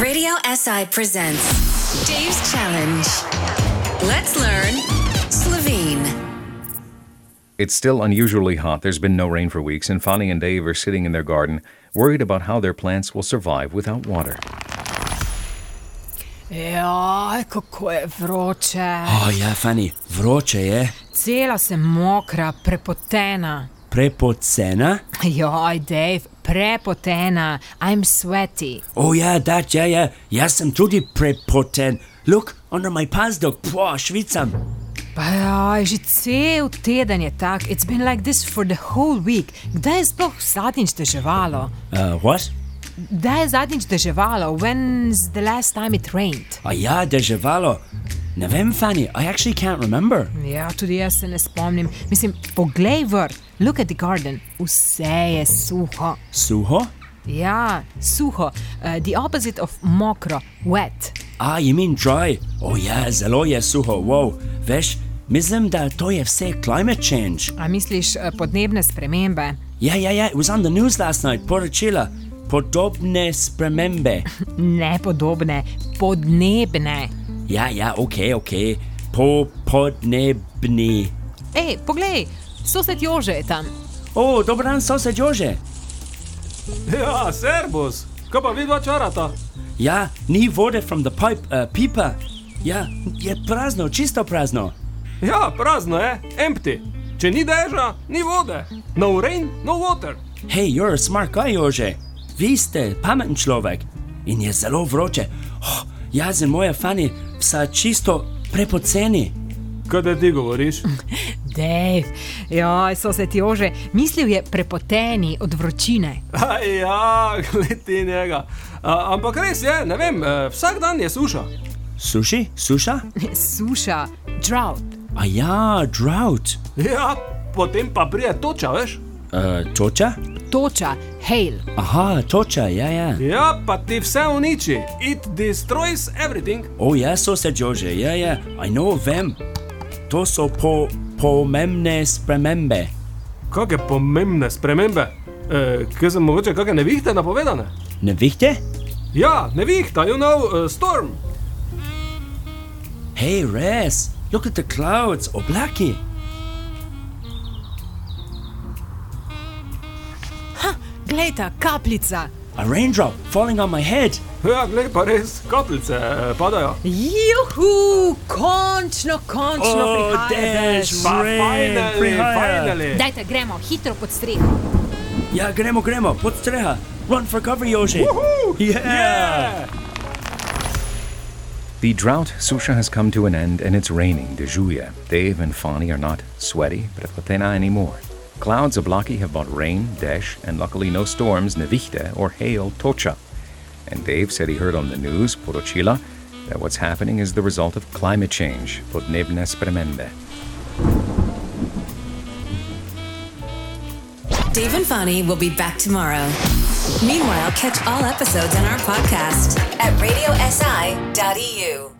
Radio SI presents Dave's Challenge. Let's learn Slovene. It's still unusually hot, there's been no rain for weeks, and Fanny and Dave are sitting in their garden, worried about how their plants will survive without water. Ja, kako je vroče. O, Oh, ja, Fani, vroče je, Cela sem mokra, prepotena. prepocena. Joj, Dave, prepotena. I'm sweaty. O, Oh, ja, that, ja, ja, jaz sem tudi prepoten. Look, under my pasdok, po, švicam. Pa joj, že cel teden je tak. It's been like this for the whole week. Kdaj je sploh zadnjič deževalo? Uh, what? Kdaj je zadnjič deževalo? When's the last time it rained? O, ja, deževalo. Ne vem, Fani, I actually can't remember. Ja, tudi jaz se ne spomnim. Mislim, poglej vrt, look at the garden. Vse je suho. Suho? Ja, suho. Uh, the opposite of mokro, wet. A, you mean dry. O, ja, zelo je suho, wow. Veš, mislim, da to je vse climate change. A misliš eh, podnebne spremembe? Ja, ja, ja, it was on the news last night, poročila. Podobne spremembe. Ne podobne, podnebne. Ja, ja, ok, ok. Po podnebni. Ej, poglej, sosed Jože je tam. O, dobro Oh, dan, sosed Jože. Ja, servus, kaj pa vidva čarata? Ja, ni vode from the pipe, uh, pipa. Ja, je prazno, čisto prazno. Ja, prazno je, empty. Če ni dežja, ni vode. No rain, no water. Hej, you're a smart guy, Jože. Vi ste pameten človek in je zelo vroče. Oh, jaz in moja fani psa čisto prepoceni. Kaj da ti govoriš? Dej, joj, sosed Jože, mislil je prepoteni od vročine. A ja, gledi njega. A, ampak res je, ne vem, eh, vsak dan je suša. Suši, suša? Suša, drought. A ja, drought. Ja, potem pa prije toča, veš? Uh, toča? Toča, hail. Aha, toča, ja, ja. Ja, pa ti vse uniči. It destroys everything. O, ja, sosed Jože, ja, ja, I know, vem. To so po, pomembne spremembe. Kakšne pomembne spremembe? E, kaj sem mogoče, kakšne nevihte napovedane? Ne vihte? Ja, nevihta, you know, uh, storm. Hey, res, look at the clouds, Oh, oblaki. Glejta, kapljica. A raindrop falling on my head. Ja, gled pa res, kapljice eh, padajo. Juhu, končno, končno O, prihaja dež, dež. ma- Pa Rain, finally, prihaja. finally. Dajte, gremo hitro pod streho. Ja, gremo, gremo, pod streha. Run for cover, Yoshi. Yeah. Yeah. The drought, Susha, has come to an end and it's raining, Dejuya. Dave and Fani are not sweaty, prepotena anymore. Clouds of Laki have brought rain, Desh, and luckily no storms, Nevichte, or hail, Tocha. And Dave said he heard on the news, Porochila, that what's happening is the result of climate change, Podnebne Spremende. Dave and Fani will be back tomorrow. Meanwhile, catch all episodes on our podcast at radiosi.eu.